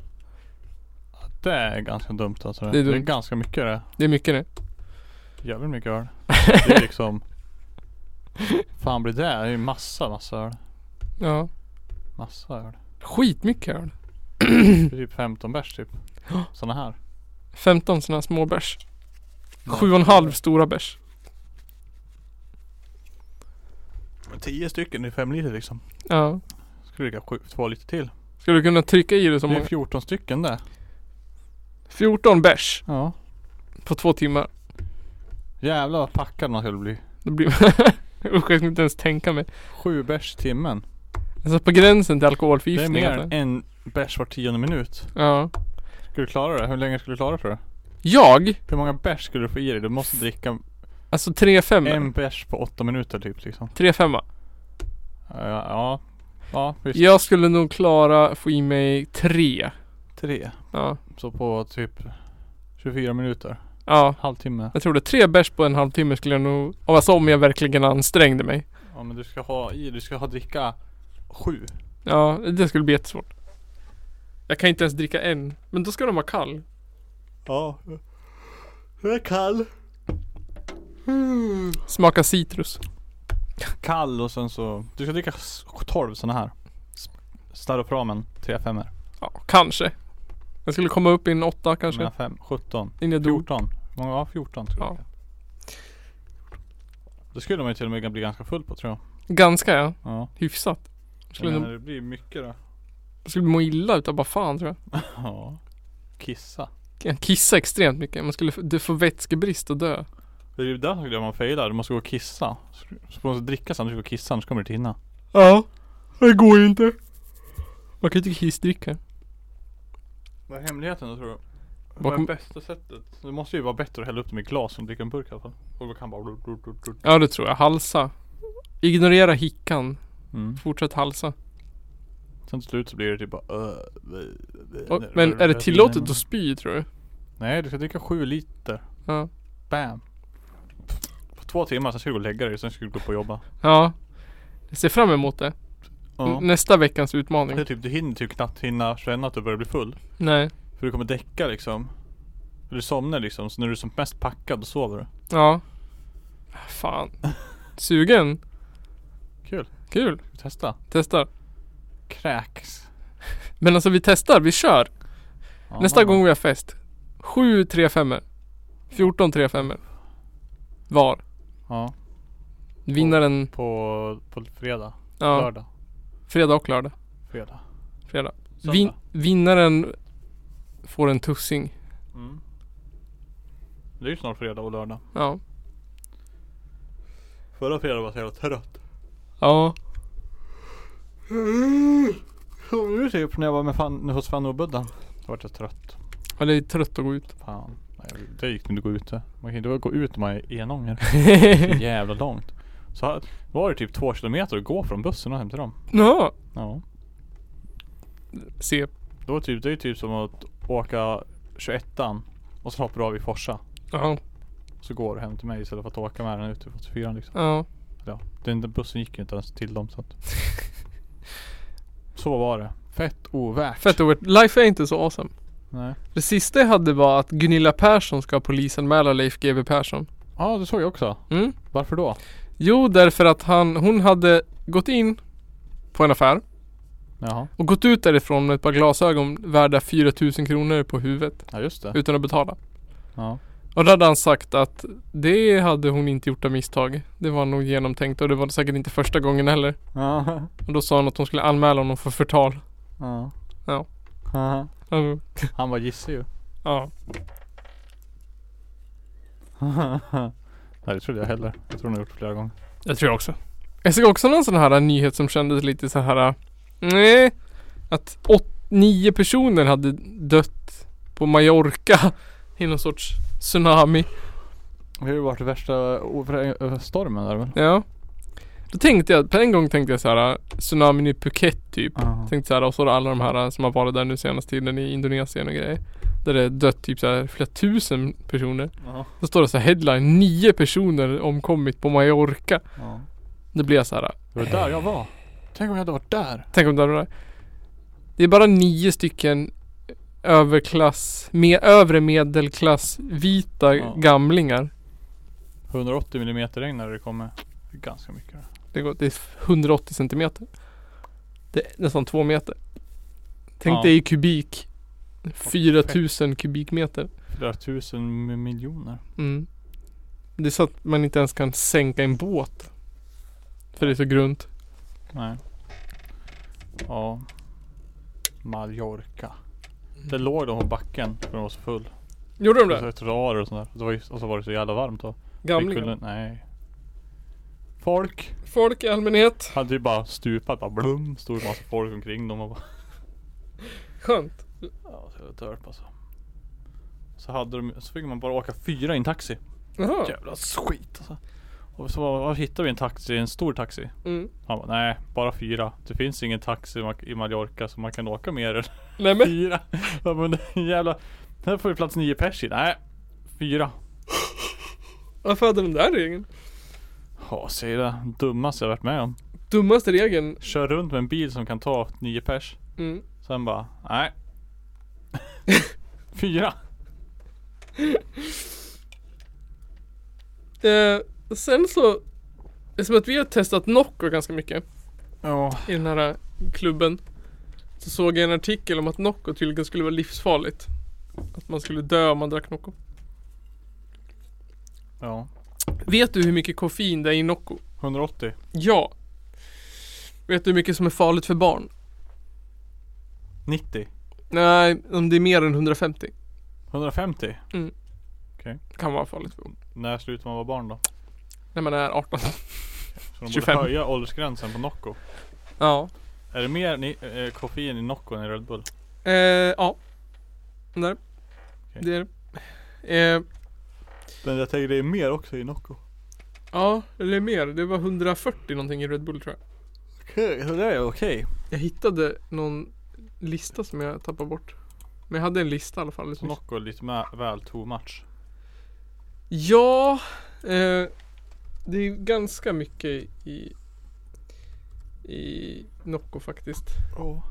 Det är ganska dumt alltså. Det Det är, är det är dumt. ganska mycket det. Det är mycket nu. Jävligt mycket [laughs] öl. Det är liksom. Fan blir det? Det är ju massa, massa öl. Ja. Massa öl. Skitmycket öl. [clears throat] Det är typ 15 bärs typ. Såna här. 15 sådana små bärs. 7,5 stora bärs. 10 stycken i 5 liter liksom. Ja. Skulle lika 2 liter till. Ska du kunna trycka i det som Det är många? 14 stycken där. 14 bärs Ja. på två timmar. Jävlar vad packad man skulle bli. Då blir [laughs] Usch, jag kan inte ens tänka mig. 7 bärs i timmen. Alltså på gränsen till Det är alkoholförgiftning. mer alltså. än en bärs var tionde minut. Ja. Skulle du klara det? Hur länge skulle du klara det tror du? Jag? Hur många bärs skulle du få i dig? Du måste dricka Alltså 3-5. en bärs på 8 minuter typ liksom. 3-5. Ja, ja. Ja, visst. Jag skulle nog klara få i mig 3. Tre. Ja. Så på typ 24 minuter. Ja. Halvtimme. Jag tror det. Tre bärs på en halvtimme skulle jag nog... Alltså om jag verkligen ansträngde mig. Ja men du ska ha i, du ska ha dricka sju. Ja, det skulle bli jättesvårt. Jag kan inte ens dricka en. Men då ska den vara kall. Ja. Jag är kall. Smaka citrus. Kall och sen så. Du ska dricka s- 12 såna här. S- Staropramen 3 5 Ja, kanske. Jag skulle komma upp i en åtta kanske. Mina fem 17. Innan jag dog. 14. Hur många var 14 tror jag. Ja. Då skulle man ju till och med bli ganska full på tror jag. Ganska ja. Ja. Hyfsat. Jag Jag skulle, menar, det blir mycket då. jag skulle må illa utav bara fan tror jag. Ja. Kissa. Jag kissar extremt mycket. Man skulle f- du får vätskebrist och dö. Det är ju där skulle jag man failar. Du måste gå och kissa. Så du måste dricka sen du ska gå och kissa annars kommer du inte hinna. Ja. Det går ju inte. Man kan ju inte kissdricka. Vad är hemligheten då tror du? Vad är Bakom- bästa sättet? Det måste ju vara bättre att hälla upp dem i glas än att dricka en burk i alla fall. Och då kan bara... Ja det tror jag. Halsa. Ignorera hickan. Mm. Fortsätt halsa. Sen till slut så blir det typ bara... "Öh, Och, nej, men är det jag- tillåtet att spy tror du? Nej du ska dricka sju liter. Ja. Bam. På två timmar sen ska du gå och lägga dig. Sen ska du gå upp och jobba. Ja. Jag ser fram emot det. Ja. Nästa veckans Det utmaning. är typ, du hinner typ knappt hinna känna att du börjar bli full. Nej. För du kommer däcka liksom. För Du somnar liksom. Så när du är som mest packad då sover du. Ja. Fan. Sugen? Kul. Kul. Ska vi testa? Testar. Kräks. Men alltså vi testar. Vi kör. Ja, Nästa man- gång vi har fest. 7 3 5 14 3 5 Var. Ja. Vinnaren. På, på fredag. Ja. Lördag. Fredag och lördag. Fredag. Fredag. Söndag. Vin- vinnaren får en tussing. Mm. Det är ju snart fredag och lördag. Ja. Förra fredagen var så jävla trött. Ja. Som nu typ när jag var med fan, hos Fanny och Budda. Då vart jag trött. Ja, det är trött att gå ut. Fan. Nej, det gick inte att gå ute. Man kan inte gå ut om man är enånger. Det är jävla långt. Så här, då var det typ två kilometer att gå från bussen och hem till dem. Ja. Ja. Se. Då var det typ, det är typ som att åka 21an och så hoppar du av i Forsa. Ja. Så går du hem till mig istället för att åka med den ut till 84 liksom. Ja. Ja, den där bussen gick ju inte ens till dem så att. Så var det. Fett ovärt. Fett ovärt. Life är inte så awesome. Nej. Det sista jag hade var att Gunilla Persson ska polisanmäla Leif GW Persson. Ja, det såg jag också. Mm. Varför då? Jo, därför att han, hon hade gått in på en affär Jaha. och gått ut därifrån med ett par glasögon värda 4000 kronor på huvudet Ja, just det. utan att betala. Ja. Och då hade han sagt att det hade hon inte gjort av misstag. Det var nog genomtänkt och det var säkert inte första gången heller. Ja. Och då sa han att hon skulle anmäla honom för förtal. [laughs] Ja. Ja. Ja. [laughs] Mm, Han var gissig ju. Ja. Nej, det trodde jag heller. Jag tror han har gjort det flera gånger. Jag tror jag också. Jag såg också någon sån här nyhet som kändes lite så här. Nej. Att åt, nio personer hade dött på Mallorca i någon sorts tsunami. Det har ju varit värsta o- för- ö, stormen där väl? Ja. Då tänkte jag, på en gång tänkte jag så här. Tsunamin i Phuket typ. Ja. Tänkte så här, och så har alla de här som har varit där nu senaste tiden i Indonesien och grejer. Där det dött typ så här flera tusen personer. Ja. Då står det så här headline, nio personer omkommit på Mallorca. Ja. Det blir jag så här, Det var där jag var. Tänk om jag hade varit där. tänk om det hade varit Det är bara nio stycken överklass, med, övre medelklass vita Ja. gamlingar. 180 mm regn när det kommer. Det är ganska mycket. Det, går, det är 180 centimeter. Det är nästan två meter. Tänk Ja. dig i kubik. 4000 kubikmeter. Flera tusen mi- miljoner. Mm. Det är så att man inte ens kan sänka en båt. För det är så grunt. Nej. Ja. Mallorca. Det låg de på backen för de var så full. Gjorde de Och så det? ett rar och sånt där. Det var ju, och så var det så jävla varmt då. Vi kunde- Gamlingar? Nej. Folk. Folk i allmänhet. Hade ju bara stupat bara blum. Stod en massa folk omkring dem och bara. Skönt. Ja, så jävla törp alltså. Så hade de, så fick man bara åka fyra i en taxi. Jaha. Jävla skit alltså. Och så bara, var hittar vi en taxi? En stor taxi? Mm. Han bara, nej bara fyra. Det finns ingen taxi ma- i Mallorca så man kan åka mer än Nej men. fyra. Ja, men det är jävla, här får vi plats nio pers i. Nej, fyra. Varför hade de där regeln? Ja, säg det. Dummaste jag varit med om. Dummaste regeln. Kör runt med en bil som kan ta nio pers. Mm. Sen bara, nej. [laughs] fyra. Eh, sen så. Det är som att vi har testat Nocco ganska mycket. Ja. I den här eh, klubben. Så såg jag en artikel om att Nocco tydligen skulle vara livsfarligt. Att man skulle dö om man drack Nocco. Ja. Vet du hur mycket koffein det är i Nocco? 180. Ja. Vet du hur mycket som är farligt för barn? 90. Nej, om det är mer än 150 150. kan vara farligt för barn. När slutar man vara barn då? När man är 18. Så de 25. borde höja åldersgränsen på Nocco. Ja. Är det mer ni, eh, koffein i Nocco än i Red Bull? Eh, ja. Där. Okej. Det är det. Eh, Men jag tänker det är mer också i Nocco. ja, eller mer. Det var 140 någonting i Red Bull tror jag. Okej, så det är okej. Jag hittade någon lista som jag tappade bort. Men jag hade en lista i alla fall. Så Nocco är lite mä- väl too much. Ja, eh, det är ganska mycket i, i Nocco faktiskt. Oh.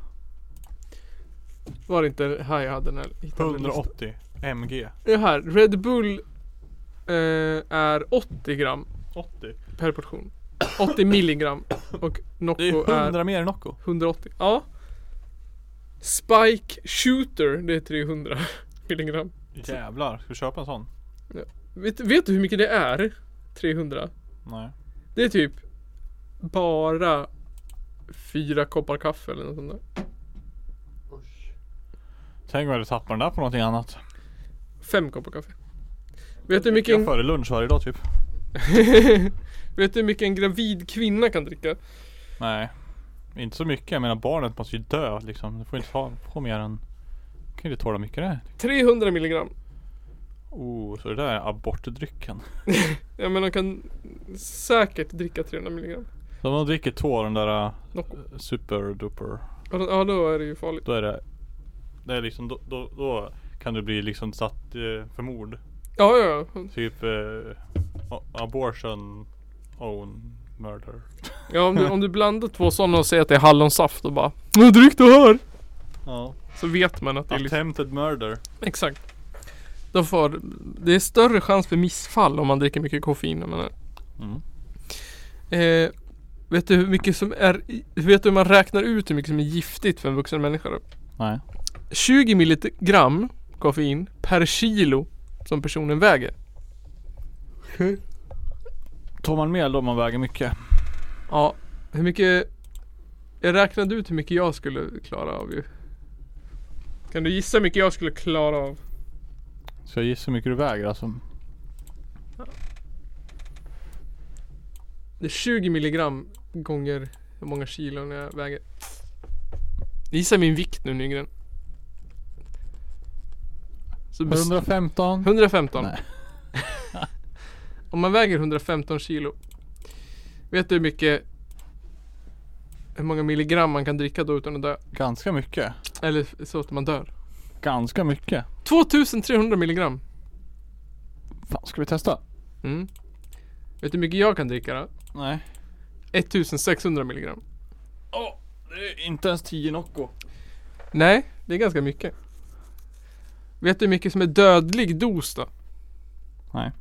Var det inte här jag hade den här? hittade listan? 180 mg. Det är här. Red Bull eh, är 80 gram 80? per portion. [coughs] 80 milligram. Och Nocco Det är 100 mer än Nocco. 180. Ja. Spike Shooter, det är 300 [laughs] milligram. Jävlar, ska du köpa en sån? Vet, vet du hur mycket det är? 300. Nej. Det är typ bara fyra koppar kaffe eller något sånt där. Tänk om jag hade tappat den där på någonting annat. Fem koppar kaffe. Vet du hur mycket Jag en, [laughs] före lunch varje dag typ. vet du hur mycket en gravid kvinna kan dricka? Nej. Inte så mycket, jag menar barnet måste ju dö liksom. Du får inte ha på mer än... Kan ju inte tåla mycket det här. 300 milligram. Oh, så det där är abortdrycken. Ja men de kan säkert dricka 300 milligram Så om man dricker två av den där eh, Nocco. super duper. Ja, då- Ja då är det ju farligt. Då är det... Det är liksom, då, då, då kan du bli liksom satt eh, för mord. Ja ja ja. Typ eh, a- abortion own murder. ja om, du, om du blandar två sådana och säger att det är hallonsaft och bara Nu drick det här! Ja. Så vet man att det är liksom, Attempted murder. exakt. Då får, det är större chans för missfall om man dricker mycket koffein. Jag menar. Mm. Eh, vet du hur mycket som är, i- vet du hur man räknar ut hur mycket som är giftigt för en vuxen människa då? Nej. 20 milligram koffein per kilo som personen väger. Tar man med då man väger mycket? Ja, hur mycket... Jag räknade ut hur mycket jag skulle klara av ju. Kan du gissa hur mycket jag skulle klara av? Så jag gissar hur mycket du väger alltså. Det är 20 milligram gånger hur många kilo när jag väger. Gissa min vikt nu Nygren. Så bes- 115? 115. Nej. [laughs] Om man väger 115 kilo. Vet du hur mycket hur många milligram man kan dricka då utan att dö? Ganska mycket. Eller f- så att man dör. Ganska mycket. 2300 milligram. Fan, ska vi testa? Mm. Vet du hur mycket jag kan dricka då? Nej. 1600 milligram. Åh, det är inte ens 10 Nocco. Nej, det är ganska mycket. Vet du hur mycket som är dödlig dos då? Nej.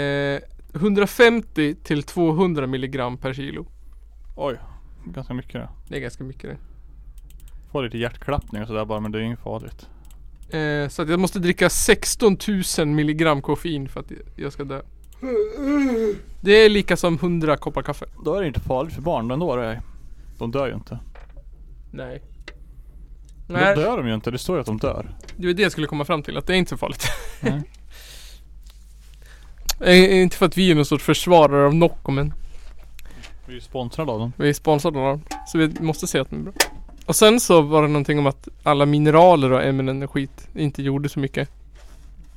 Eh, 150 till 200 milligram per kilo. Oj, ganska mycket det. Det är ganska mycket det. Får lite hjärtklappning och sådär bara men det är inget farligt. Eh, så att jag måste dricka 16 000 milligram koffein för att jag ska dö. Det är lika som 100 koppar kaffe. Då är det inte farligt för barn ändå det är. De dör ju inte. Nej. Nej. Då Nej, dör de ju inte, det står ju att de dör. det var det jag skulle komma fram till. Att det är inte så farligt. Nej. [laughs] Eh, inte för att vi är någon sorts försvarare av Nocco men Vi är ju sponsrade av dem. vi är sponsrade av dem. Så vi måste säga att de är bra. Och sen så var det någonting om att alla mineraler och ämnen och skit inte gjorde så mycket.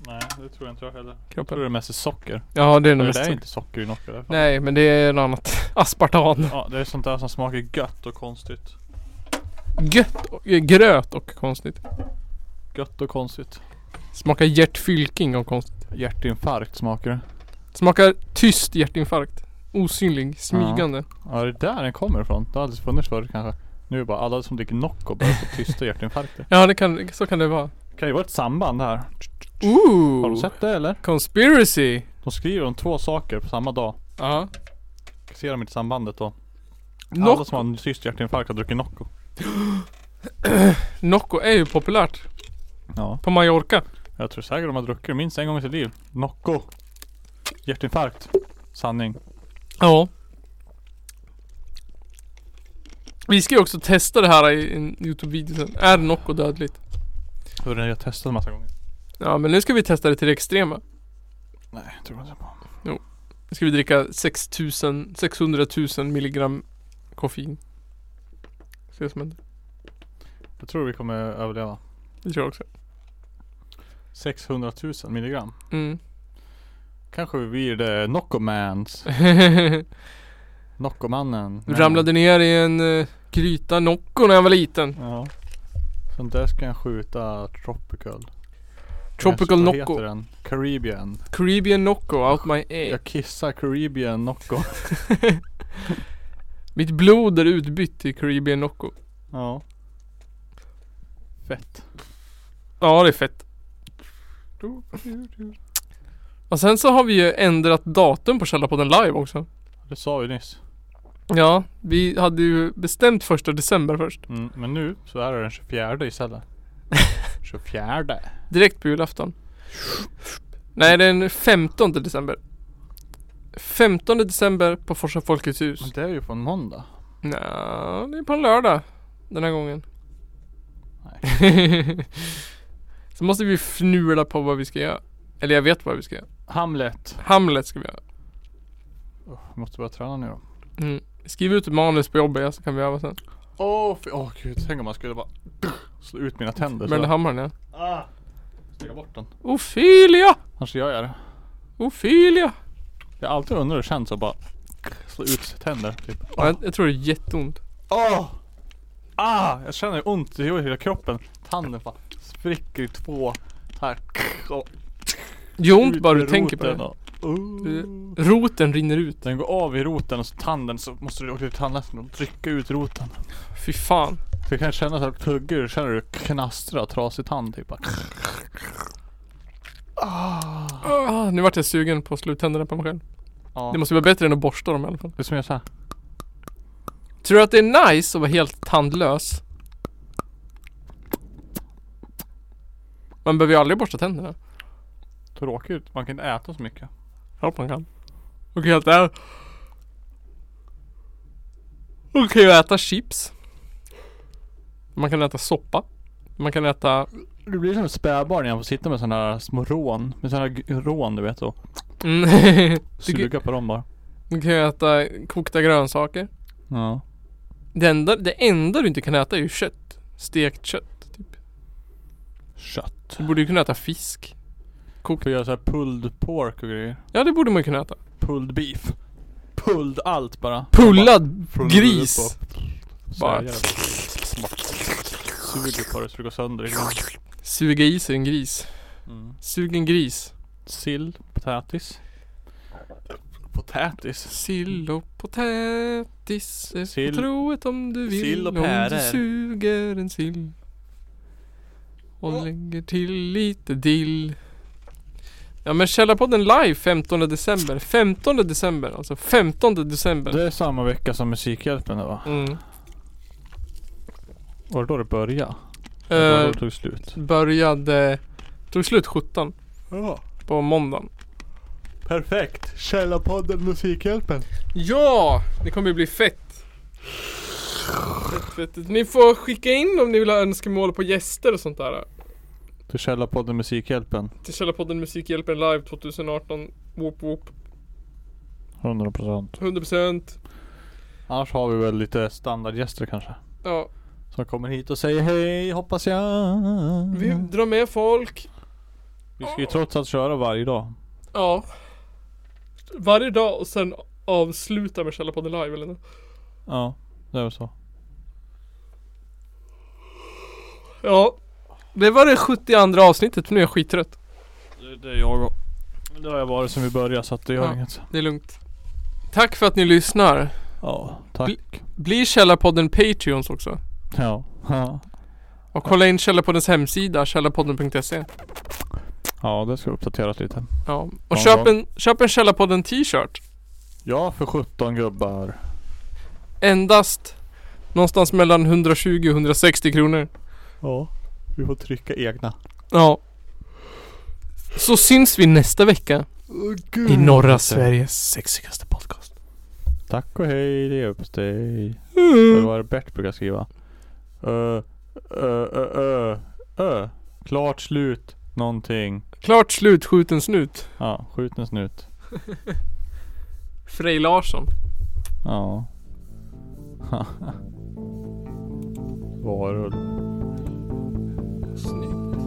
Nej, det tror jag inte jag heller. Jag tror Kroppen. det mest är socker. Ja det är nog Men mest det Mm. är så. inte socker i Nocco i alla fall. Nej men det är något annat. [laughs] Aspartan. Ja, det är sånt där som smakar gött och konstigt. Gött och, eh, gröt och konstigt. Gött och konstigt. Smakar hjärtfylking och konstigt. Hjärtinfarkt smakar det. Smakar tyst hjärtinfarkt. Osynlig, smygande. Ja, det är där den kommer ifrån. Det har aldrig funnits förut kanske. Nu är det bara alla som dricker Nocco börjar få tysta hjärtinfarkter. Ja, det kan, så kan det vara. Kan ju vara ett samband här. Har du Ooh! sett det eller? Conspiracy! De skriver om två saker på samma dag. Ja. Ser de inte sambandet då? Alla Noc- som har en tyst hjärtinfarkt har druckit Nocco. Nocco är ju populärt. Ja. På Mallorca. Jag tror säkert de har druckit det minst en gång i sitt liv. Nocco. Hjärtinfarkt. Sanning. Ja. Vi ska ju också testa det här i en Youtube-video sen. Är Nocco dödligt? Hur den har jag testat en massa gånger. Ja, men nu ska vi testa det till det extrema. Nej, jag tror inte på. Nu ska vi dricka 6000, 600 000 milligram koffein. Se vad som händer. Jag tror vi kommer överleva. Det tror jag också. 600 000 milligram. Mm. Kanske vi blir det Noccomans. [laughs] Noccomannen. Du ramlade ner i en uh, gryta Nocco när jag var liten. Ja. Sen där ska jag skjuta Tropical. Tropical Vad heter Nocco. den? Caribbean. Caribbean Nocco out my egg. Jag kissar Caribbean Nocco. [laughs] Mitt blod är utbytt till Caribbean Nocco. ja. Fett. Ja, det är fett. Och sen så har vi ju ändrat datum på Källarpodden live också. Det sa vi nyss. Ja, vi hade ju bestämt första december först. Mm, men nu så är det den 24 [laughs] istället. 24. Direkt på julafton. Nej, den 15 december. 15 december på Forsa Folkets hus. Men det är ju på en måndag. Nja, det är på en lördag. Den här gången. [laughs] så måste vi fnula på vad vi ska göra. Eller jag vet vad vi ska göra. Hamlet. Hamlet ska vi göra. Oh, jag måste börja träna nu då. Mm. Skriv ut ett manus på jobbet ja, så kan vi öva sen. Åh oh, oh, gud, tänk om man skulle bara slå ut mina tänder Brände så. hammaren ja. Ah, släcka bort den. Ofelia! Annars gör jag det. Ofelia! Jag har alltid undrat hur det känns att bara slå ut tänder typ. Ja, Jag, jag tror det är jätteont. Åh! Ah! Jag känner hur ont det gör i hela kroppen. Tanden bara spricker i två. Här. Och Det gör ont ut bara du med tänker på roten det. och- Oh. Roten rinner ut. Den går av i roten och så tanden så måste du åka till tandläkaren och trycka ut roten. Fy fan. För jag kan känna så här, tuggar du, känner du knastra trasig tand typ bara. Ah. Ah, nu vart jag sugen på sluttänderna på mig själv. Ja. Det måste vara bättre än att borsta dem i alla fall. Det är som jag sa. Tror du att det är nice att vara helt tandlös? Man behöver ju aldrig borsta tänderna. Tråkigt. Man kan inte äta så mycket. Jag hoppas man kan. Och helt där. Man kan ju äta chips. Man kan äta soppa. Man kan äta... Du blir som ett spädbarn när jag får sitta med sådana här små rån. Med sådana här g- rån du vet och Mm. [laughs] suga på dem bara. man kan ju äta kokta grönsaker. Ja. Det enda, det enda du inte kan äta är ju kött. Stekt kött. Typ. Kött. Du borde ju kunna äta fisk. Får göra såhär pulled pork och grejer. Ja det borde man ju kunna äta. Pulled beef. Pulled allt bara. Pullad Från gris. huvudet på- Bara- Så jävla- Suger på det så det går sönder. Suga i sig en gris. Mm. Sug en gris. Sill, potatis. Potatis? Sill och potätis är Sill- på troet om du vill sill och Om du pärer. suger en sill Och lägger till lite dill Ja men Källarpodden live 15 december 15 december alltså 15 december Det är samma vecka som Musikhjälpen va? mm. Var det då det började? Eller var det då Eh, det tog slut? Började Tog slut 17 Ja, på måndagen perfekt! Källarpodden Musikhjälpen. Ja! Det kommer ju bli fett. Fett, fett, fett. Ni får skicka in om ni vill ha önskemål på gäster och sånt där. Till Källarpodden Musikhjälpen. Till Källarpodden Musikhjälpen live 2018. Whoop whoop. 100%. 100%. Annars har vi väl lite standardgäster kanske. Ja, Som kommer hit och säger hej hoppas jag. vi drar med folk. Vi ska ju trots allt köra varje dag. Ja. Varje dag och sen avsluta med Källarpodden live eller nåt. Ja, det är väl så. Ja. Det var det 72 avsnittet. Nu är jag skittrött. Det, det är jag och. Det har jag varit sen vi började så att det gör Ja. inget. Det är lugnt. Tack för att ni lyssnar. Ja, tack. Bli Källarpodden Patreons också. Ja. [laughs] ja. Och kolla in Källarpoddens hemsida, källarpodden.se. Ja, det ska uppdateras lite. Ja, och Ja, köp ja. en, köp en Källarpodden t-shirt. Ja, för 17 gubbar. Endast någonstans mellan 120 och 160 kronor. Ja. Vi får trycka egna. Ja. Så syns vi nästa vecka i norra Mm. Sveriges sexigaste podcast. Tack och hej, det är upp till dig. Eller Mm. vad är det Bert brukar skriva? Ö, ö, ö, ö, ö. Klart slut. Någonting. Klart slut, skjut en snut. Ja, skjut en snut. Frej Larsson. Ja. [laughs] Varulv. Snyggt.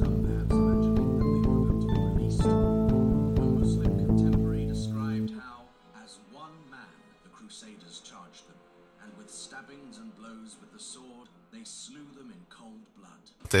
Some bands mentioning that they were meant to be released. One Muslim contemporary described how, as one man, the Crusaders charged them, and with stabbings and blows with the sword, they slew them in cold blood. Det